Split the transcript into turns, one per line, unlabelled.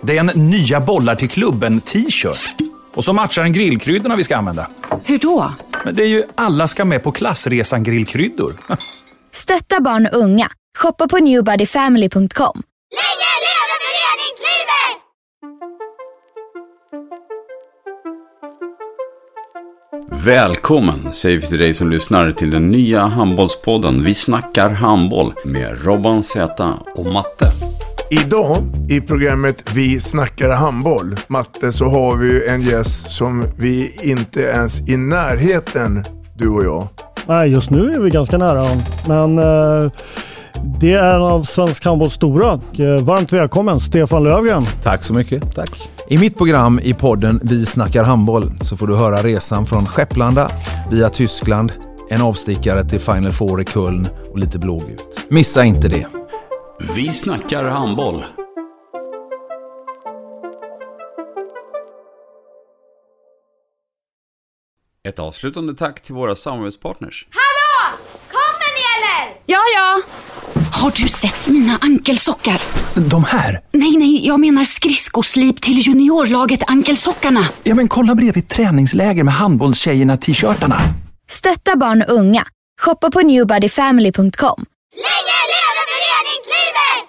Det är en nya bollar till klubben-t-shirt. Och så matchar den grillkryddorna vi ska använda.
Hur då?
Men det är ju alla ska med på klassresan grillkryddor.
Stötta barn och unga. Shoppa på newbodyfamily.com.
Länge leve föreningslivet!
Välkommen säger vi till dig som lyssnar till den nya handbollspodden Vi snackar handboll med Robban Z och Matte.
Idag i programmet Vi snackar handboll, Matte, så har vi ju en gäst som vi inte ens i närheten, du och jag.
Nej, just nu är vi ganska nära honom. Men eh, det är en av svensk handbolls stora. Och, eh, varmt välkommen Stefan Löfgren.
Tack så mycket.
Tack. I mitt program i podden Vi snackar handboll så får du höra resan från Skepplanda via Tyskland, en avstickare till Final Four i Köln och lite blågult. Missa inte det.
Vi snackar handboll. Ett avslutande tack till våra samarbetspartners.
Hallå! Kommer ni eller?
Ja, ja. Har du sett mina ankelsockar?
De här?
Nej, nej, jag menar skridskoslip till juniorlaget Ankelsockarna.
Ja, men kolla bredvid träningsläger med handbollstjejerna-t-shirtarna.
Stötta barn och unga. Shoppa på newbodyfamily.com.
Länge leve föreningslivet!